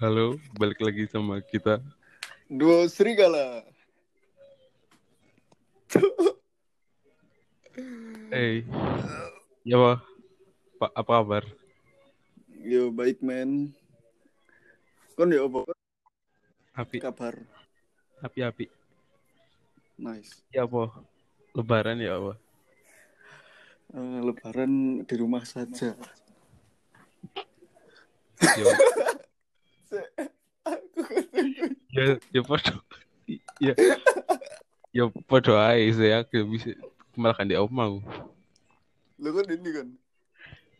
Halo, balik lagi sama kita. Duo Serigala. Hey. Ya, Pak. Pak, apa kabar? Yo, baik men. Kon yo apa Api, kabar? api, api. Nice. Ya, apa? Lebaran ya, apa? Eh, lebaran di rumah saja. Ya, ya, ya, podo. Ya, ya, podo aja sih, ya. Gak bisa. Malah kan di omah. aku. Lu kan ini kan.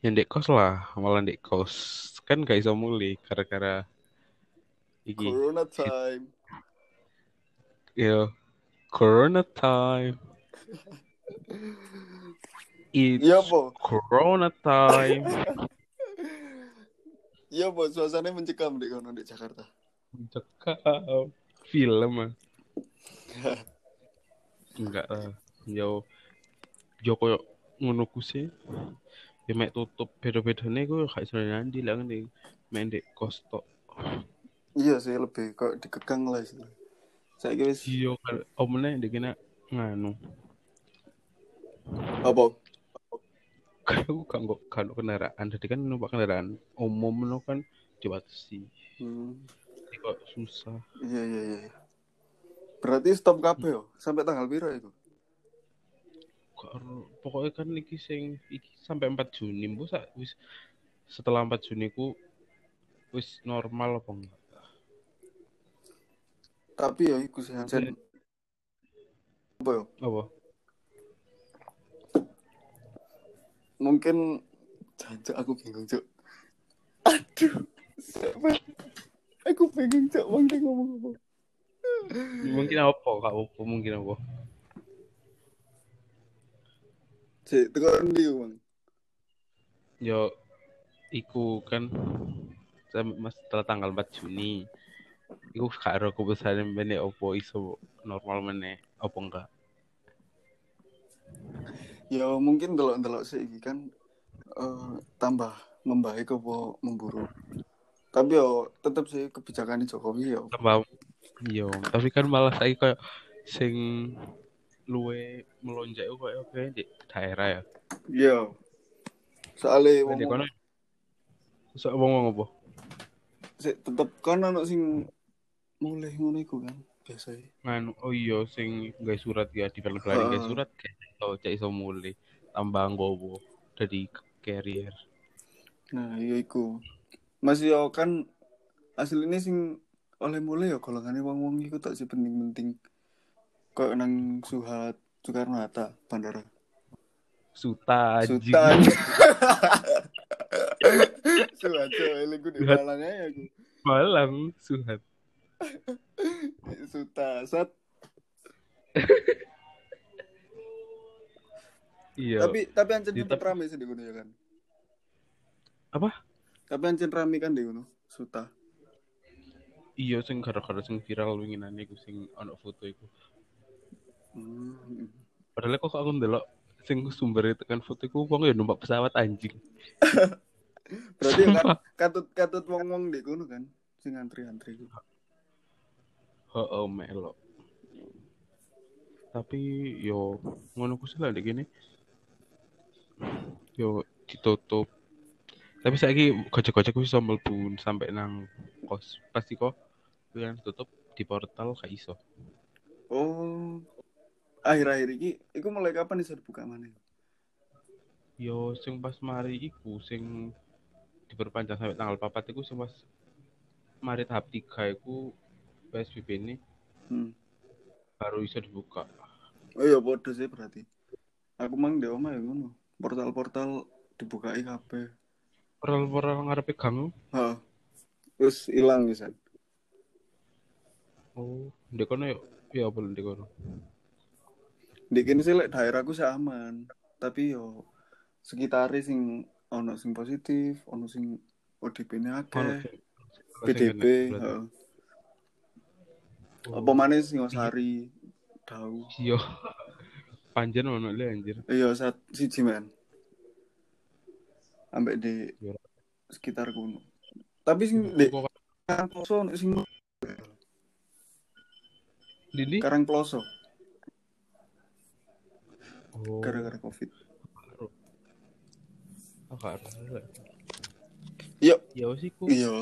Ya, ndek kos lah. Malah ndek kos. Kan gak iso mulih, gara-gara... Iya. Iki, Corona time. ya. Corona time. It's Iya po. Corona time. Iya po, suasananya mencekam di kono di Jakarta. Cekap. ah, Film ah. Enggak lah. Yo yo koyo ngono ku sih. Ya mek tutup beda-bedane ku gak iso nandi lah ngene. Mek ndek kos tok. Iya sih lebih kok dikekang lah sih. Saya kira sih. Yo kan omene ndek kena nganu. Apa? Kan aku gak nggo kalau kendaraan. Jadi kan numpak kendaraan umum no kan dibatasi. Hmm. Jadi kok susah. Iya iya iya. Berarti stop kabeh yo sampai tanggal piro itu? Gak ero. pokoknya kan iki sing iki sampai 4 Juni mbok sak wis setelah 4 Juni ku wis normal apa enggak? Tapi ya iku sih Hansen. Apa yo? Apa? mungkin jancok aku bingung cok aduh siapa aku bingung cok wong dia ngomong apa Mungkin apa Kak Opo mungkin apa? cek tekan dia bang Yo Ya, iku kan sampai mas setelah tanggal 4 Juni. Iku gak ero keputusane meneh opo iso normal meneh apa enggak? ya mungkin delok delok sih iki kan eh, tambah membaik apa memburuk tapi yo tetap sih kebijakan Jokowi yo Tambah yo, tapi kan malah saiki koyo sing luwe melonjak iku koyo oke di daerah ya. yo soalnya wong Di kono sok wong apa? sik tetep kan anak sing mulai ngono iku kan e. biasanya Nganu, oh iya sing gak surat ya di film pelari Heeh. gak surat kayak oh cak iso mulai tambah nggowo dari carrier Nah, iya iku. Mas yo kan asline sing oleh mulai ya golongane wong-wong iku tak sih penting-penting. Kayak nang Suhat Soekarno Hatta bandara. suta anjing. Sutan. Suhat yo eling kudu Suhat. malang ae aku. malang suhat Suta sat. iya Tapi tapi ancen Iya, tetep tapi- rame sih di kono ya kan. Apa? Tapi ancen rame kan di kono. Suta. iya sing gara-gara sing viral winginane iku sing ono foto iku Hmm. padahal kok aku ndelok sing sumbernya tekan foto iku wong ya numpak pesawat anjing Berarti ya kan Sumpah. katut-katut wong-wong di kono kan sing antri-antri iku. Heeh, melo. Tapi yo ngono ku sih lah dek gini. Yo ditutup. Tapi saiki gojek-gojek ku iso mlebu sampai nang kos. Pasti kok kan tutup di portal gak iso. Oh, akhir-akhir ini, itu mulai kapan bisa dibuka mana? Yo sing pas mari iku sing diperpanjang sampai tanggal 4 iku sing pas mari tahap 3 iku PSBB ini Hmm. baru iso dibuka. Oh iya, bodoh sih berarti. Aku mang di omah ya ngono. Portal-portal dibukai kabeh. Portal-portal ngarepe gang. Heeh. Terus hilang bisa. Oh, ndek kono yo ya apa ndek kono. Di kene sih lek daerahku sih aman, tapi yo sekitare sing ono sing positif, ono sing ODP-ne Ono akeh. sing- PDB, heeh. eh, Apa maneh Singosari, Dau. Yo. Panjen ono le anjir. Iya, sat siji men. Ambek di Yo. sekitar kuno. Tapi sing di Kok Karangploso ono sing Didi? Karangploso Oh, gara-gara Covid. oh, gak ada. Iya, Ya wis iku. iya.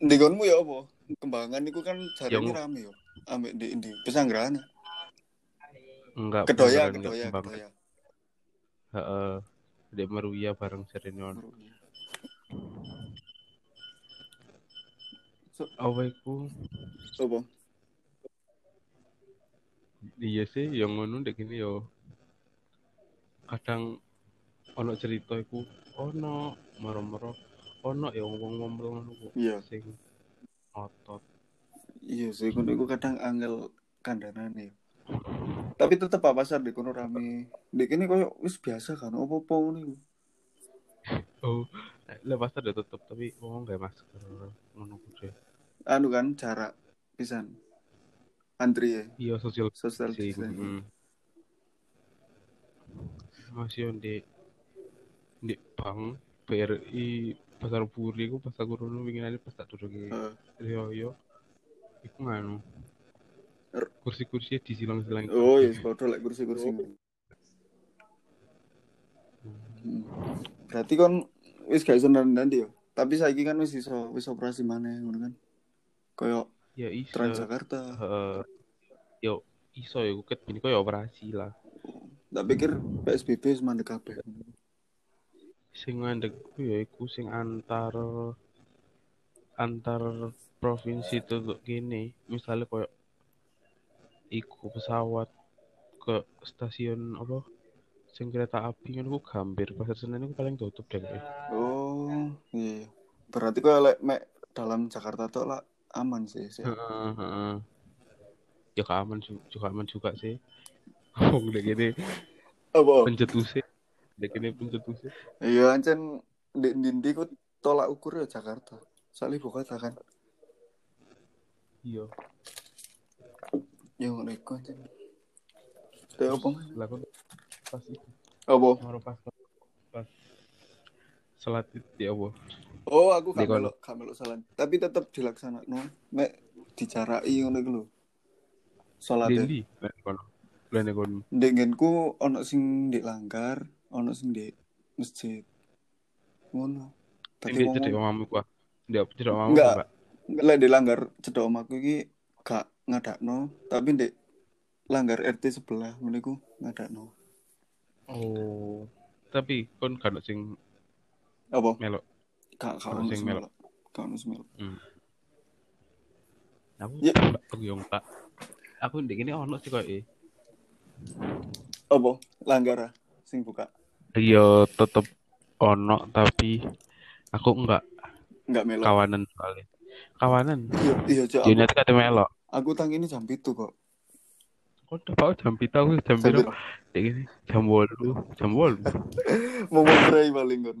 Di gonmu ya apa? Kembangan iku kan jarene Yang- rame yo. Ambek di di pesanggrahan. Enggak. Kedoya, beneran enggak kedoya, kembang. kedoya. Heeh. Dek Maruya bareng Serenion. Apa iku? Apa? Iya sih, yang ngono dek gini yo. Kadang ono cerita iku ono moro-moro ono ya wong-wong ngono ku Iya. sing otot. Iya sih, kono iku kadang angel kandanan ya. Tapi tetep apa pasar di kono rame. Di kene koyo wis biasa kan opo-opo ngono iku. Oh, lepas ada tutup tapi wong gak masker ngono ku deh. Anu kan jarak pisan. Antri ya, Iya sosial social sih. gitu. distancing. Masih on di di Bang BRI Pasar Puri ku pas aku dulu pingin aja pas tak duduk di Heeh. Riyoyo. iya. Iku nganu. Er- Kursi-kursi disilang-silang. Oh, iya, padha lek kursi-kursi. ngono. Hmm. Berarti kon wis gak iso nanti ya. Tapi saiki kan wis iso wis operasi maneh ngono kan. Koyo Ya iso. Transjakarta. Heeh. yo iso ya kuket ini kok ya operasi lah. Tak pikir PSBB wis mandek kabeh. Sing ngandek ku ya iku sing antar antar provinsi tutup gini. Misalnya koyo iku pesawat ke stasiun apa sing kereta api kan ku gambir pasar Senen iku paling tutup deh kayaknya. Oh, iya. Berarti kok lek mek dalam Jakarta tok lah aman sih. sih. Heeh, heeh. ya gak aman juga, juga aman juga sih ngomong deh gini Apa? pencetus sih deh gini pencetus sih Iya, ancen di ndi ku tolak ukur ya Jakarta. Soalnya buka kan. iya Ya ngono iku ancen. Teh opo? lah kan pas itu Apa? Moro pas pas selat itu ya apa? Oh, aku gak Di kono. melok, gak melok salan. Tapi tetep dilaksanakno. Mek dijarai ngono iku lho. Salate. Dendi, kono. Lene kono. Ndek nggenku ana sing ndek langgar, ana sing ndek masjid. Ngono. Tapi Ini wong cedek mamamu ku. Dia cedek mamamu Enggak. Mbak. lek di langgar cedok omahku iki gak ngadakno tapi di langgar RT sebelah meniku ngadakno Oh. Tapi kon kan sing apa melok. gak gak Ono ono Oh, sing sing melok. melok gak ono sing melok Aku Ya. aku yo Pak. Aku ndek kene ono sih eh. koyo. apa langgar ah, sing buka Iya, tetep ono tapi aku enggak gak melok kawanan soalnya. Kawanan. iya iya Cok, Jadi nanti kate melok. aku, aku tang ini jam itu kok Kok udah bau jam pita aku Jam jam pira? Ndek kene jam 8. Jam 8. mau mulai paling kon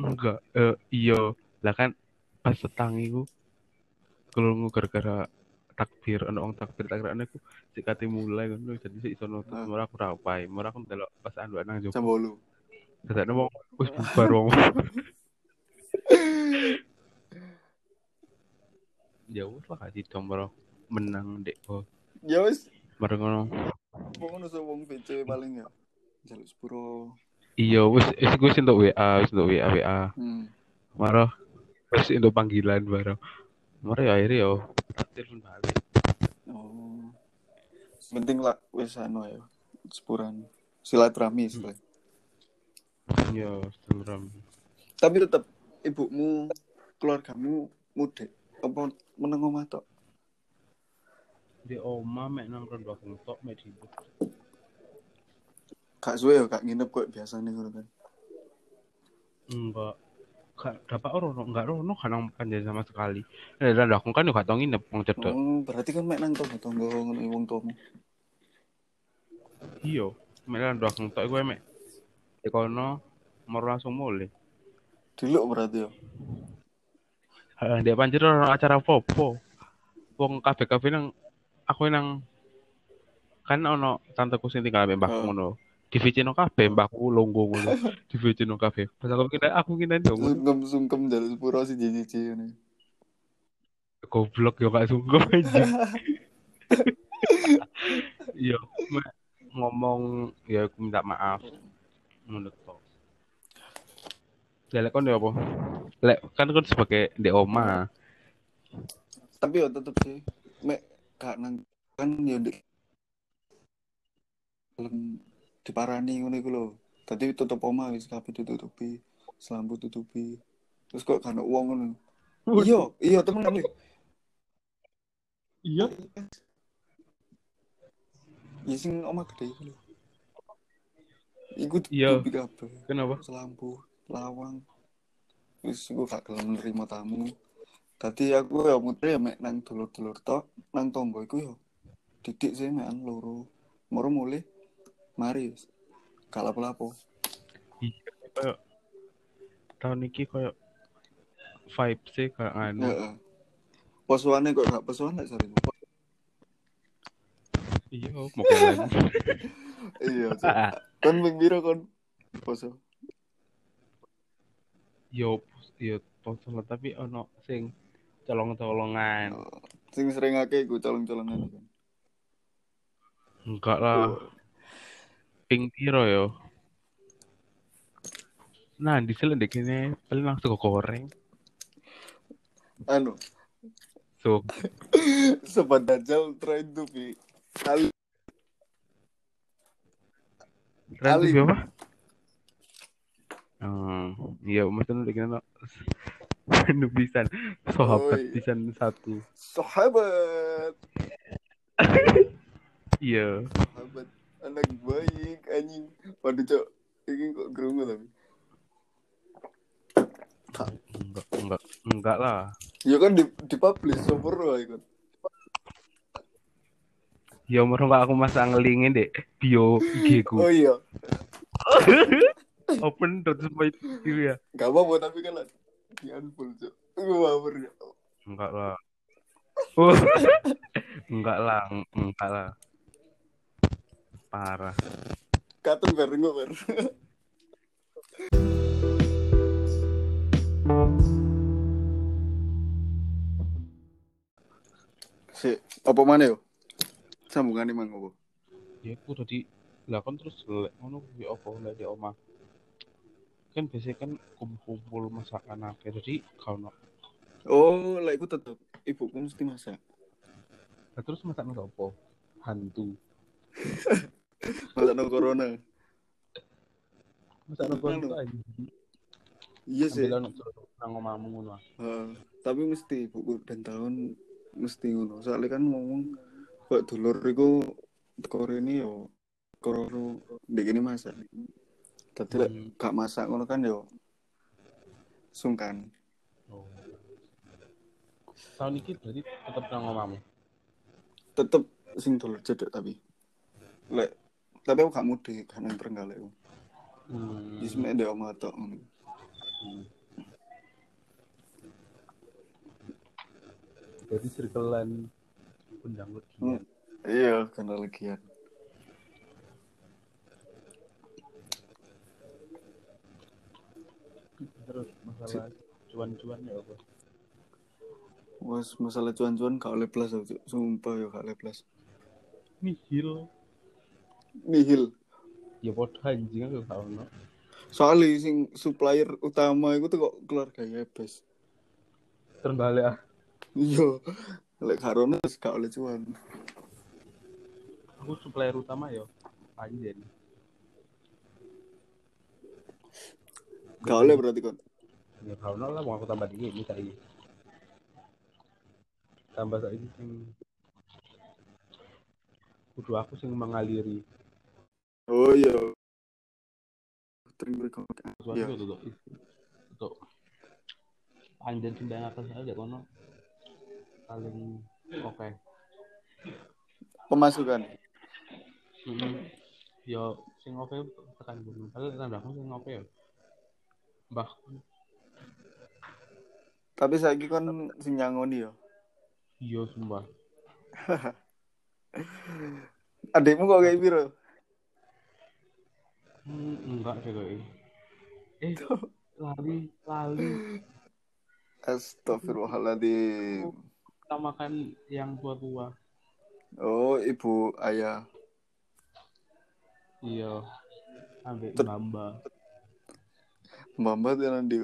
Enggak, eh iya. Lah kan pas petang iku kelungu gara-gara takbir ana wong takbir takbirane aku sik kate mulai ngono jadi sik iso nutup Ah. murah aku ra wae. Murah aku ndelok pas anduan nang jam jopo. bolu Dadane wong wis bubar wong. Ya wis lah kaji domro menang dek kok. ya wis Mereng ngono. wong ono sing wong VC paling ya jaluk sepuro Iya wis wis iku wis entuk WA, wis entuk WA WA. hmm. Marah wis entuk panggilan bareng. Marah ya akhirnya yo telepon balik. oh penting lah wis anu ya sepuran Hmm. silaturahmi istilahnya. Iya, telegram. tapi tetap ibumu keluargamu mudik apa meneng omah tok di oma mek nang rondo aku tok mek di gak suwe ya gak nginep kok biasanya ngono kan enggak gak dapat rono enggak rono kan nang panjang sama sekali nah rondo aku kan yo gak tau nginep wong cedek oh berarti kan mek nang tonggo tonggo ngono wong tuamu iya mek rondo aku tok iku mek di kono mau langsung mulai dulu berarti ya Heeh, Ndek Panjer ora ono acara popo. Wong kabeh-kabeh nang aku nang kan ono tanteku sing tinggal ambek Heeh. mbahku ngono. Divicino kabeh mbahku longgo ngono. Divicino kabeh. Pas aku kira aku kira dong sungkem sungkem jalur pura si jiji ini goblok yo gak sungguh anjing. Yo ma- ngomong ya aku minta maaf menurut kok. Lek kon yo apa? Lek kan kon sebagai ndek oma. tapi ya tetep sih mek gak nang kan ya ndek belum diparani ngono iku lho tadi tutup oma wis kabeh ditutupi selambu tutupi terus kok kan uang ngono iya iya temen aku Iya. ya sing oma gede iku lho iku Iya. ditutupi kabeh Kenapa? selambu lawang terus gue gak gelem nerima tamu tadi aku ya muter ya mek nang dulur-dulur tok nang tonggo iku ya didik sih mekan loro moro mulih mari wis. gak lapo-lapo Tahun iki koyo vibe sih kayak anu. heeh posuane kok gak posuan lek sore Iya, mau kalian. iya Cuk. À, kon ping piro kon poso Yo, yo poso lah, tapi ono sing Kan. colong-colongan. Oh. sing sering akeh iku colong-colongan iku. Enggak lah, ping piro yo. Nah, di sini dek ini paling langsung goreng. anu So, sobat dajal trying to be Ali Randy Ali. siapa? Hmm, iya, maksudnya dek ini menu pisan, Oh, iya. sahabat pisan satu. sahabat Iya, sahabat anak baik anjing waduh cok ini kok gerungu tapi enggak, enggak, enggak lah. ya kan di di publish sopor lah ikut Ya merong aku masa ngelingin dek bio IG oh ku. iya Open terus itu ya. gak apa-apa tapi kan lah di unfollow cok gue baper ya Enggak lah. Oh. enggak lah, eng- enggak lah. Parah. katun bareng gue bareng si apa mana yo sambungan emang apa Ya aku tadi lah kan terus lek ngono kuwi apa lek di omah. Kan biasanya kan kumpul-kumpul masakan akeh jadi kau no. oh lah iku tetep ibuku mesti masak Lah terus masakan apa? Hantu. masak no corona Masakan apa Anu. itu aja. iya sih Sambil ono terus nang omahmu ngono. ah. Heeh, Eh, tapi mesti buku dan tahun mesti ngono soalnya kan ngomong kok dulur iku teko ini yo koro ndek ini masak tapi lek Hmm. gak masak ngono kan yo sungkan Oh. Tahun ini berarti tetap nang omahmu. tetep sing dulur cedek tapi lek tapi aku gak mudik kan nang Trenggalek aku Hmm. wis mek ndek omah tok ngono Hmm, Jadi circlean undang Hmm. iya kan legian terus masalah cuan-cuan ya apa? wes masalah cuan-cuan gak oleh plus aku Cuk. sumpah yo gak oleh plus Nihil. nihil Ya podo anjing aku gak ono. soalnya sing supplier utama itu tuh kok keluarga ya, Yebes Terbalik ah. iya lek karena terus gak oleh cuan Aku supplier utama ya anjen. gak oleh berarti kan Ya gak ono lah mau aku tambah dikit ini saiki. Tambah saiki sing kudu aku sing mengaliri. oh iya Tering record. Suatu Iya. itu tuh. Untuk anjen sembayang akan saja kono paling oke. pemasukan Mm-mm. Yo sing opo tekan ya. gunung. Padahal tambahku sing opo yo. Mbahku. Tapi saiki kan sing nyangoni ya. Iya sumpah. Adikmu kok kayak piro? Hmm, enggak sih kok. Eh, lali, lali. Astagfirullahaladzim. Kita makan yang tua-tua. Oh, ibu ayah. Iya. Ambil Ter- bamba. Mbak Mbak nanti.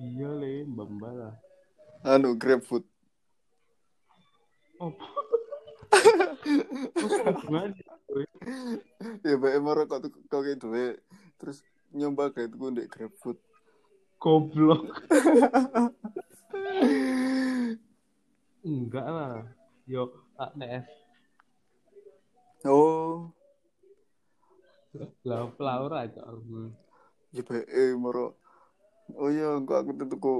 Iya le, bamba lah. Anu, GrabFood. Oh. Gimana? Ya, Mbak Emar kok tuh kok kayak duit. Terus nyoba kayak tuh ndek GrabFood. Goblok. Enggak lah. Yo, tak nek es Oh, lah pelaur aja aku. ya Mbak Emar. Oh iya, kok aku tuh tuku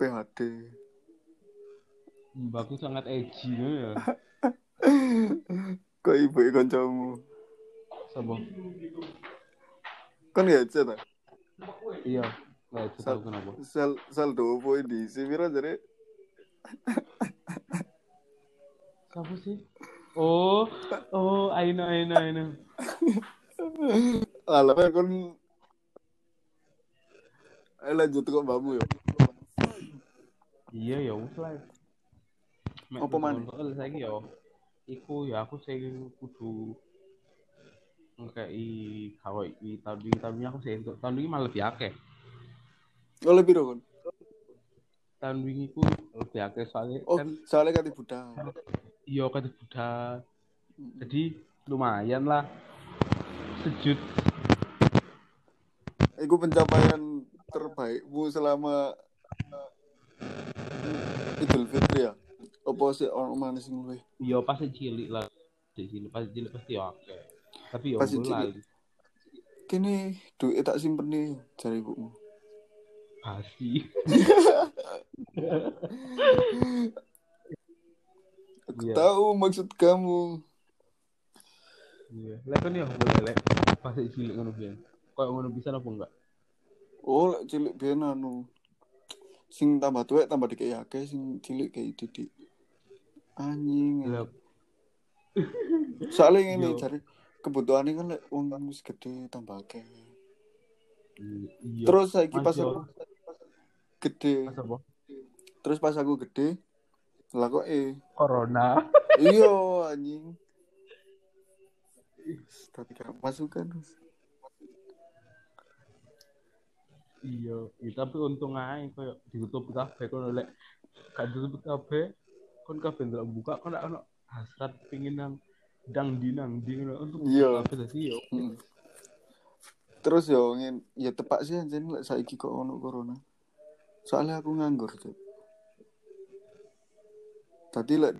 PHD. Mbakku sangat edgy kan ya. Kok ibu kancamu. Sobo. Kan gak chat ah? Iya. Nggak itu tahu kenapa. Sel sel do opo di Sivira jare Siapa sih? Oh, oh, I know, I know, I know. Alah kon Ayo lanjut kok mbamu yo. Iya ya wis lah. Mek Apa maneh? kontrol saiki ya iku ya aku sing kudu ngekei gawe iki tahun iki tahun ini aku sing entuk. Tahun iki malah lebih akeh. Oleh piro kon? Tahun wingi ku lebih akeh soalnya Oh, kan soalnya kate budak. iya kate Buddha. Jadi lumayan lah. Sejut Iku pencapaian terbaikmu selama eh, Idul Fitri ya. Apa sih orang manis sing luwih? iya pas cilik lah. Pas cilik pas cilik pasti akeh. Tapi ya Pas ngono lah. cilik. Kene duit tak simpen nih jare ibumu. Pasti. Aku Iya. tahu maksud kamu. Iya. Lek kan ya boleh lek pas cilik ngono biyen. Kayak ngono bisa apa enggak? Oh, lek cilik biyen anu. Sing tambah tuwek tambah dikei akeh, sing cilik kei didik. Anjing. Lek Soalnya ini Yo. cari kebutuhannya kan lek wong kan wis gede tambah akeh. Iya. Terus saiki Mas pas yo. aku gede, Mas apa? terus pas aku gede lah kok eh Corona. iya anjing. Tapi gak masukan. Iya, iya, tapi untung ae koyo ditutup kabeh kono lek gak ditutup kabeh kon kabeh ndelok buka kon gak ono hasrat pingin nang dang di nang di ngono untuk Iya. kabeh dadi yo. Mm. Terus yo ngin ya tepak sih anjen lek saiki kok ono corona. Soalnya aku nganggur tuh. Tadi lek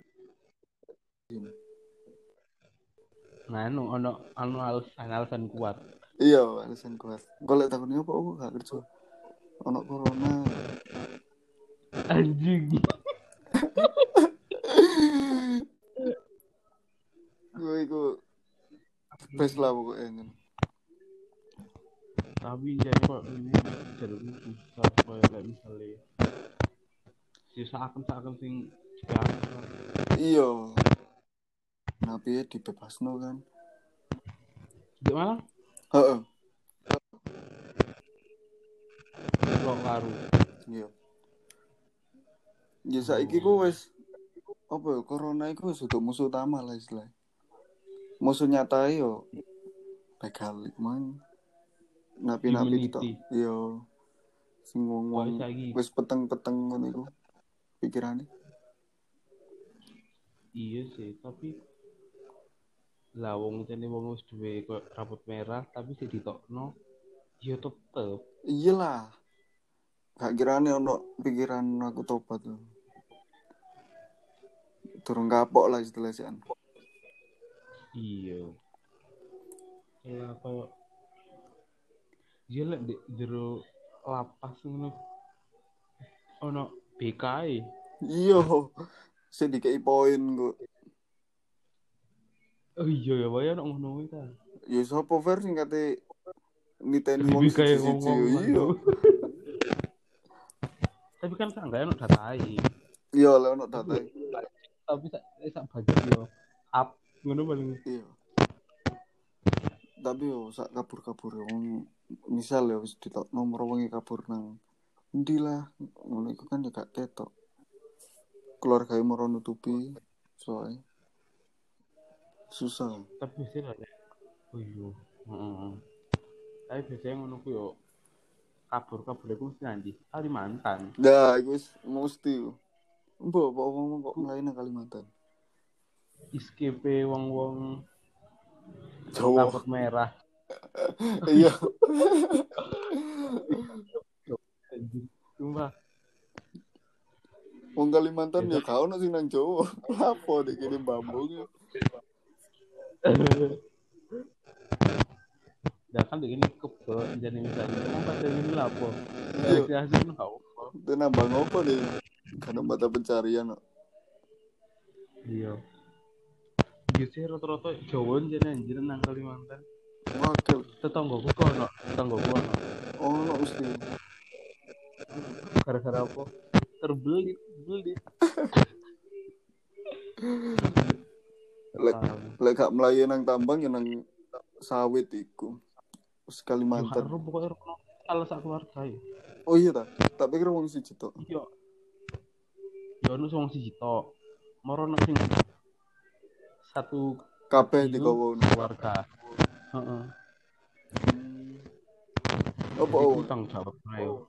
Nah, ono ono ono alasan-alasan kuat. iya alasan kuat. Golek takon apa aku gak kerja. Ono corona. Anjing. Gue iku best lah pokoknya. tapi jadi kok ini jalur susah koyo lek misale sisa akan akan sing gak- Iya. Nabi dibebasno kan. di mana? Heeh. Blok karu. Iya. Ya saiki ku wis apa ya corona iku wis untuk musuh utama lah istilah. Musuh nyata yo begal man. Napi-napi kita. Immunity. Iya. Sing Wah, wong-wong saiki wis peteng-peteng ngono iku pikirane. Iya sih, tapi lah wong jane wong wis duwe koyo rambut merah tapi sik ditokno ya tetep. Iyalah. Gak kirane ono pikiran aku tobat. lho. Turun kapok lah istilah sih. Iya. Lah koyo Iya lek di jero lapas ngono. Ono E. BKI. Iya, sing dikei poin kok. Oh iya ya wae ono ngono kuwi ta. Ya sapa ver sing kate niteni wong iya. Lebih kayak gitu, iya. siji-siji. ngomong. Iya, Tapi kan kan enggak enak datai. Iya, lah ono data. Tapi sak eh, sak budget yo up ngono paling. Iya. Tapi yo sak kabur-kabur yo wong misal yo wis ditok nomor wengi kabur nang endi lah ngono iku kan yo gak ketok. Keluarga mau nutupi soalnya susah. Tapi sih lah. ya. Oh iya. Heeh. Tapi biasanya ngono ku yo kabur kabur aku mesti nanti Kalimantan. Nah, iku wis mesti. Mbok apa wong kok mulai nang Kalimantan. Iskipe wong-wong Jawa. rambut merah. Iya. Cuma Wong Kalimantan Gitu. ya gak ono sing nang Jawa. Apa dek kene bambung. dan kan begini kebo jadi misalnya kan pada ini lapo. Dari hasil nu gak apa. Itu Iya. nambah ngopo deh. Karena mata pencarian. Iya. Biasanya rata-rata Jawa jadi anjir nang Kalimantan. Wakil. Tetanggaku kok ono, tetanggaku ono. Ono mesti. Gara-gara apa? Terbeli, beli. Lek lek gak melayu nang tambang ya nang sawit iku. Wis Kalimantan. Harum pokoknya rukno salah sak keluarga ya. Oh iya ta. Tak pikir wong siji tok. Iya. Ya ono sing siji tok. Moro ono sing satu Kabeh Iku dikowo. keluarga. Heeh. Apa Iku oh. tanggung jawab ayo.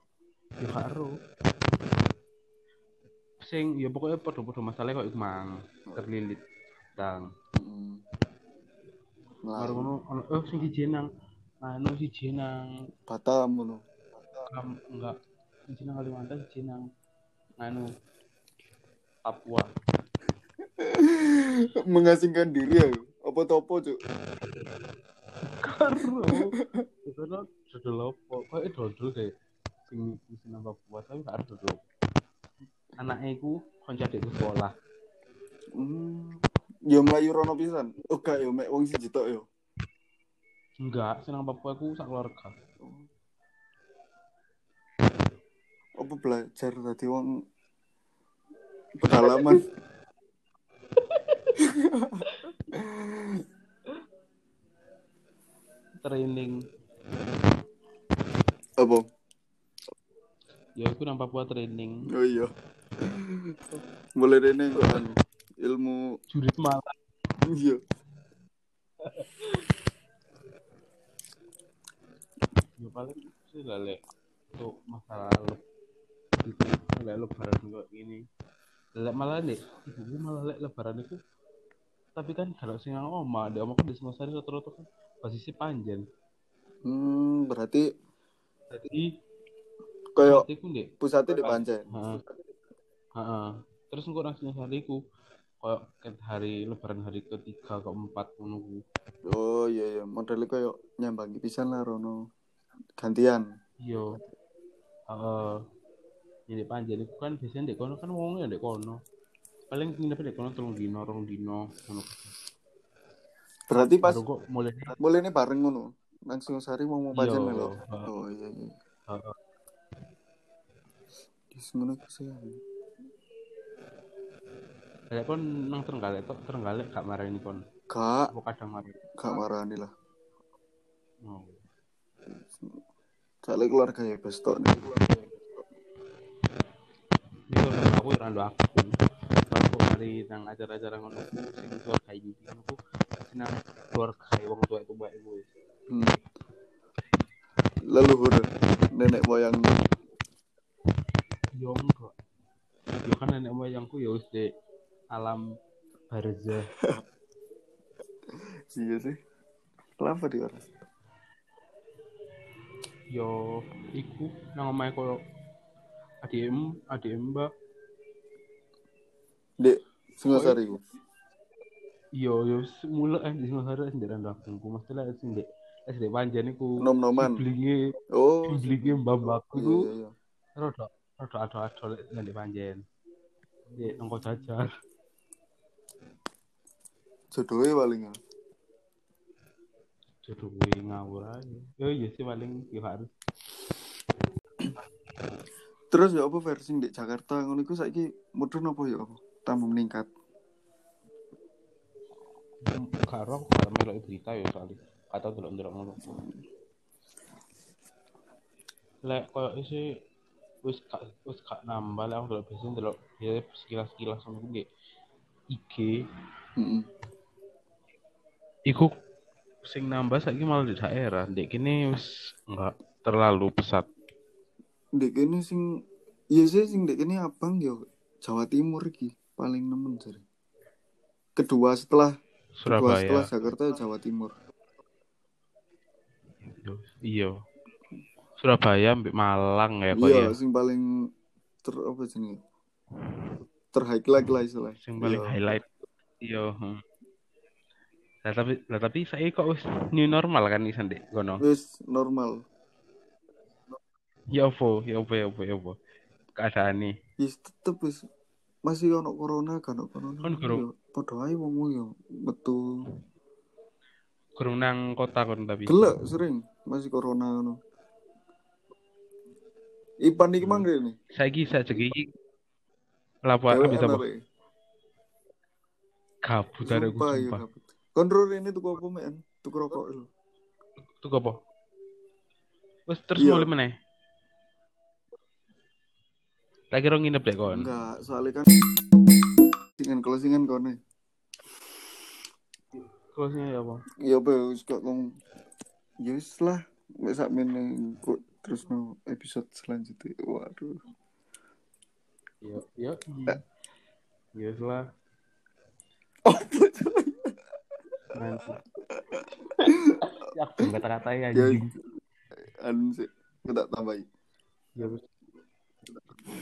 Ya karo. Sing ya pokoknya padha-padha masalah kok iku mang terlilit tang. Hmm. Melayu. Baru ono ono eh sing siji nang anu siji nang Batam ngono. kam enggak siji nang Kalimantan siji nang anu Papua. mengasingkan diri ya apa topo cuk Karo. Itu lo Ya, kan, dodol apa? Kok dodol deh. Sing sing nang Papua tapi gak ada dodol. Anaknya iku kanca dek sekolah. hmm. ya melayu rono pisan oh gak yo mek wong siji tok ya. yo Enggak, senang Papua aku sak keluarga. apa belajar tadi wong pedalaman Training. apa Ya aku nang Papua training. oh iya mulai rene kok anu, ilmu Jurit malah. iya Ya paling sih lah lek. Untuk masalah lo. Itu lek lebaran kok gini. Lek malah nih, ibuku malah lek lebaran itu. Tapi kan kalau sing nang oma, dia omah kan di Singosari rata-rata kan posisi panjang. hmm, berarti Jadi kayak aku ndek. pusatnya di Pancen Heeh. Heeh. Terus engko nang Singosari ku koyo ket hari lebaran hari ketiga keempat ngono ku. oh iya iya modelnya kayak nyambangi pisan lah rono gantian Iya. Heeh. Ini panjang itu kan biasanya di kono kan wongnya di kono. Paling nginep di kono telung dino, rong dino, ngono. berarti pas Baru kok mulai mulai ini bareng ngono nang Singosari mau mau pancen Iya. lho oh iya iya Heeh. Yes, ngono iku sih. Lek kon nang Trenggalek tok, Trenggalek gak marani kon. Kak, Aku kadang marani. kak marani lah. Oh. Kak lek keluarga ya bestok nih. Ini kalau sama aku ya rando aku. Pas aku mari nang acara-acara ngono ku sing keluarga iki ngono ku senang keluarga wong tua itu baik gue. Hmm. Leluhur nenek moyang Yo Iya, enggak. Yo kan nenek moyangku ya wis di alam barzah. iya sih. Kenapa di orang? yo iku nang omahe koyo adikmu, adik mbak Dek, Singosari iku. yo yo semula eh di Singosari sendiri aku maksudnya sing dek SD Panjen iku Nom-noman. blinge Oh, blinge mbak-mbakku iya iku iya iya. rada rada ado-ado lek nang di Panjen di nang kota Jajar Jodohe paling. ya. jodoh gue ngawur aja yo yo sih paling yo harus terus ya apa versi di Jakarta ngono iku saiki mudhun apa ya apa tambah meningkat Karo aku gak melok berita ya soalnya. Atau delok-delok ngono. Lek koyo isi wis gak wis gak nambah lek aku delok biasanya delok ya sekilas-sekilas ngono di IG. Heeh. Iku sing nambah saiki malah di daerah. Dek kene wis enggak terlalu pesat. ndek kene sing ya sih sing ndek kene abang yo Jawa Timur iki paling nemen jare kedua setelah kedua setelah Surabaya. Jakarta Jawa Timur Iya. Surabaya mbek Malang ya kok ya. iya sing paling ter apa jenenge terhighlight lah istilah Iya. sing paling highlight yo hmm. lah tapi lah tapi saya kok wis new normal kan isan dek kono wis normal ya opo ya opo ya opo ya opo keadaan nih wis tetep wis masih ono corona kan ono corona Kan guru. Yo, padha ae wong yo metu kurung nang kota kon tapi gelek sering masih corona ngono Ipan iki Hmm. mangre nih. saiki saya iki lapo apa bisa apa kabut ada gue Sumpah, iya sumpah kabut. Kontrol ini tuku apa men? Tuku rokok lho. itu apa wis terus Iya. mulai meneh lagi orang nginep dek kon Enggak, soalnya kan dengan closingan kone. close-nya ya apa Ya apa ya, wis kok ngomong. Ya wis lah, wis sak meneng kok terus no episode selanjutnya. Waduh. yo yo yo ya. lah Oh, betul. nanti ya aku kata-kata ya Ya, anjing anu sih, kita tambahin. Ya wis.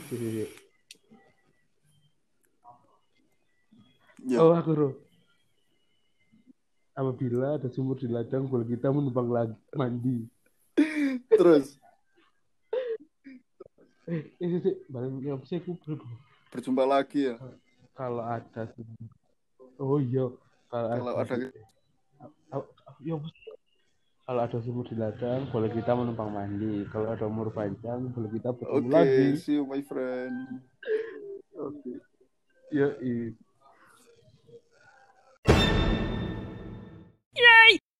Sik, sik, sik. Ya, Oh, aku roh. Apabila ada sumur di ladang, bola kita menumpang lagi mandi. terus Eh, eh, sik, sik. barang yang sih aku bro. berjumpa lagi ya. Kalau ada sumur. Oh iya, kalau, Kalau ada gitu. Au- au- ya, wis. kalau ada sumur di ladang, bola kita menumpang mandi. Kalau ada umur panjang, bola kita bertemu Oke, lagi. see you my friend. Oke. Ya, i.